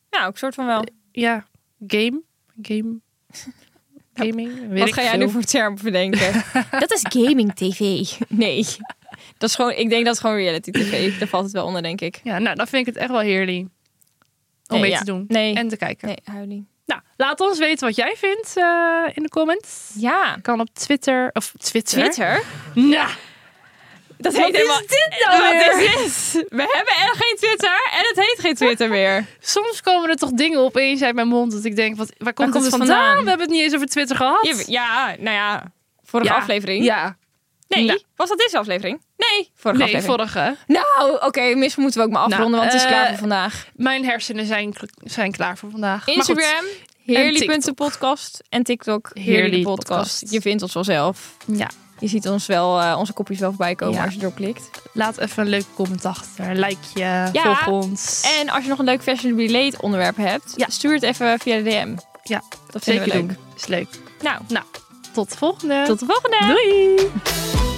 Speaker 1: Nou, ik soort van wel.
Speaker 2: Ja. game, game, gaming. weet
Speaker 1: Nou, Wat
Speaker 2: ik
Speaker 1: ga jij
Speaker 2: veel.
Speaker 1: nu voor term bedenken? dat is gaming tv. Nee. Dat is gewoon, ik denk dat is gewoon reality tv. Daar valt het wel onder, denk ik.
Speaker 2: Ja, nou, dan vind ik het echt wel heerlijk om
Speaker 1: Nee,
Speaker 2: mee
Speaker 1: ja.
Speaker 2: te doen
Speaker 1: Nee.
Speaker 2: en te kijken.
Speaker 1: Nee, huilie.
Speaker 2: Nou, Laat ons weten wat jij vindt eh, in de comments.
Speaker 1: Ja.
Speaker 2: Kan op Twitter. Of Twitter.
Speaker 1: Twitter?
Speaker 2: Nou,
Speaker 1: Dat
Speaker 2: Wat is
Speaker 1: dit nou Wat is dit? We hebben en geen Twitter en het heet geen Twitter meer.
Speaker 2: soms komen er toch dingen opeens uit mijn mond. Dat ik denk, wat, waar komt
Speaker 1: komt
Speaker 2: het
Speaker 1: het
Speaker 2: vandaan?
Speaker 1: vandaan?
Speaker 2: We hebben het niet eens over Twitter gehad.
Speaker 1: Je- Ja, nou ja. Vorige
Speaker 2: Ja.
Speaker 1: aflevering?
Speaker 2: Ja.
Speaker 1: Nee.
Speaker 2: Nou.
Speaker 1: Was dat deze aflevering? Nee, vorige
Speaker 2: Nee,
Speaker 1: aflevering.
Speaker 2: vorige.
Speaker 1: Nou, oké, mis moeten we ook maar afronden,
Speaker 2: Nou,
Speaker 1: want het is
Speaker 2: eh,
Speaker 1: klaar voor vandaag.
Speaker 2: Mijn hersenen zijn, kl- zijn klaar voor vandaag. Maar goed.
Speaker 1: Instagram, heerly.podcast en TikTok,
Speaker 2: Heerly
Speaker 1: heerly
Speaker 2: podcast.
Speaker 1: podcast. Je vindt ons wel zelf.
Speaker 2: Ja.
Speaker 1: Je ziet ons wel, eh, onze kopjes wel voorbij komen
Speaker 2: Ja.
Speaker 1: als je erop klikt.
Speaker 2: Laat even een leuke comment achter. Een likeje.
Speaker 1: Ja.
Speaker 2: Volg ons.
Speaker 1: En als je nog een leuk fashion relate onderwerp hebt,
Speaker 2: Ja.
Speaker 1: stuur het even via de DM.
Speaker 2: Ja,
Speaker 1: dat vinden
Speaker 2: zeker
Speaker 1: we leuk.
Speaker 2: doen. Is leuk.
Speaker 1: Nou,
Speaker 2: Tot de volgende.
Speaker 1: tot de volgende!
Speaker 2: Doei.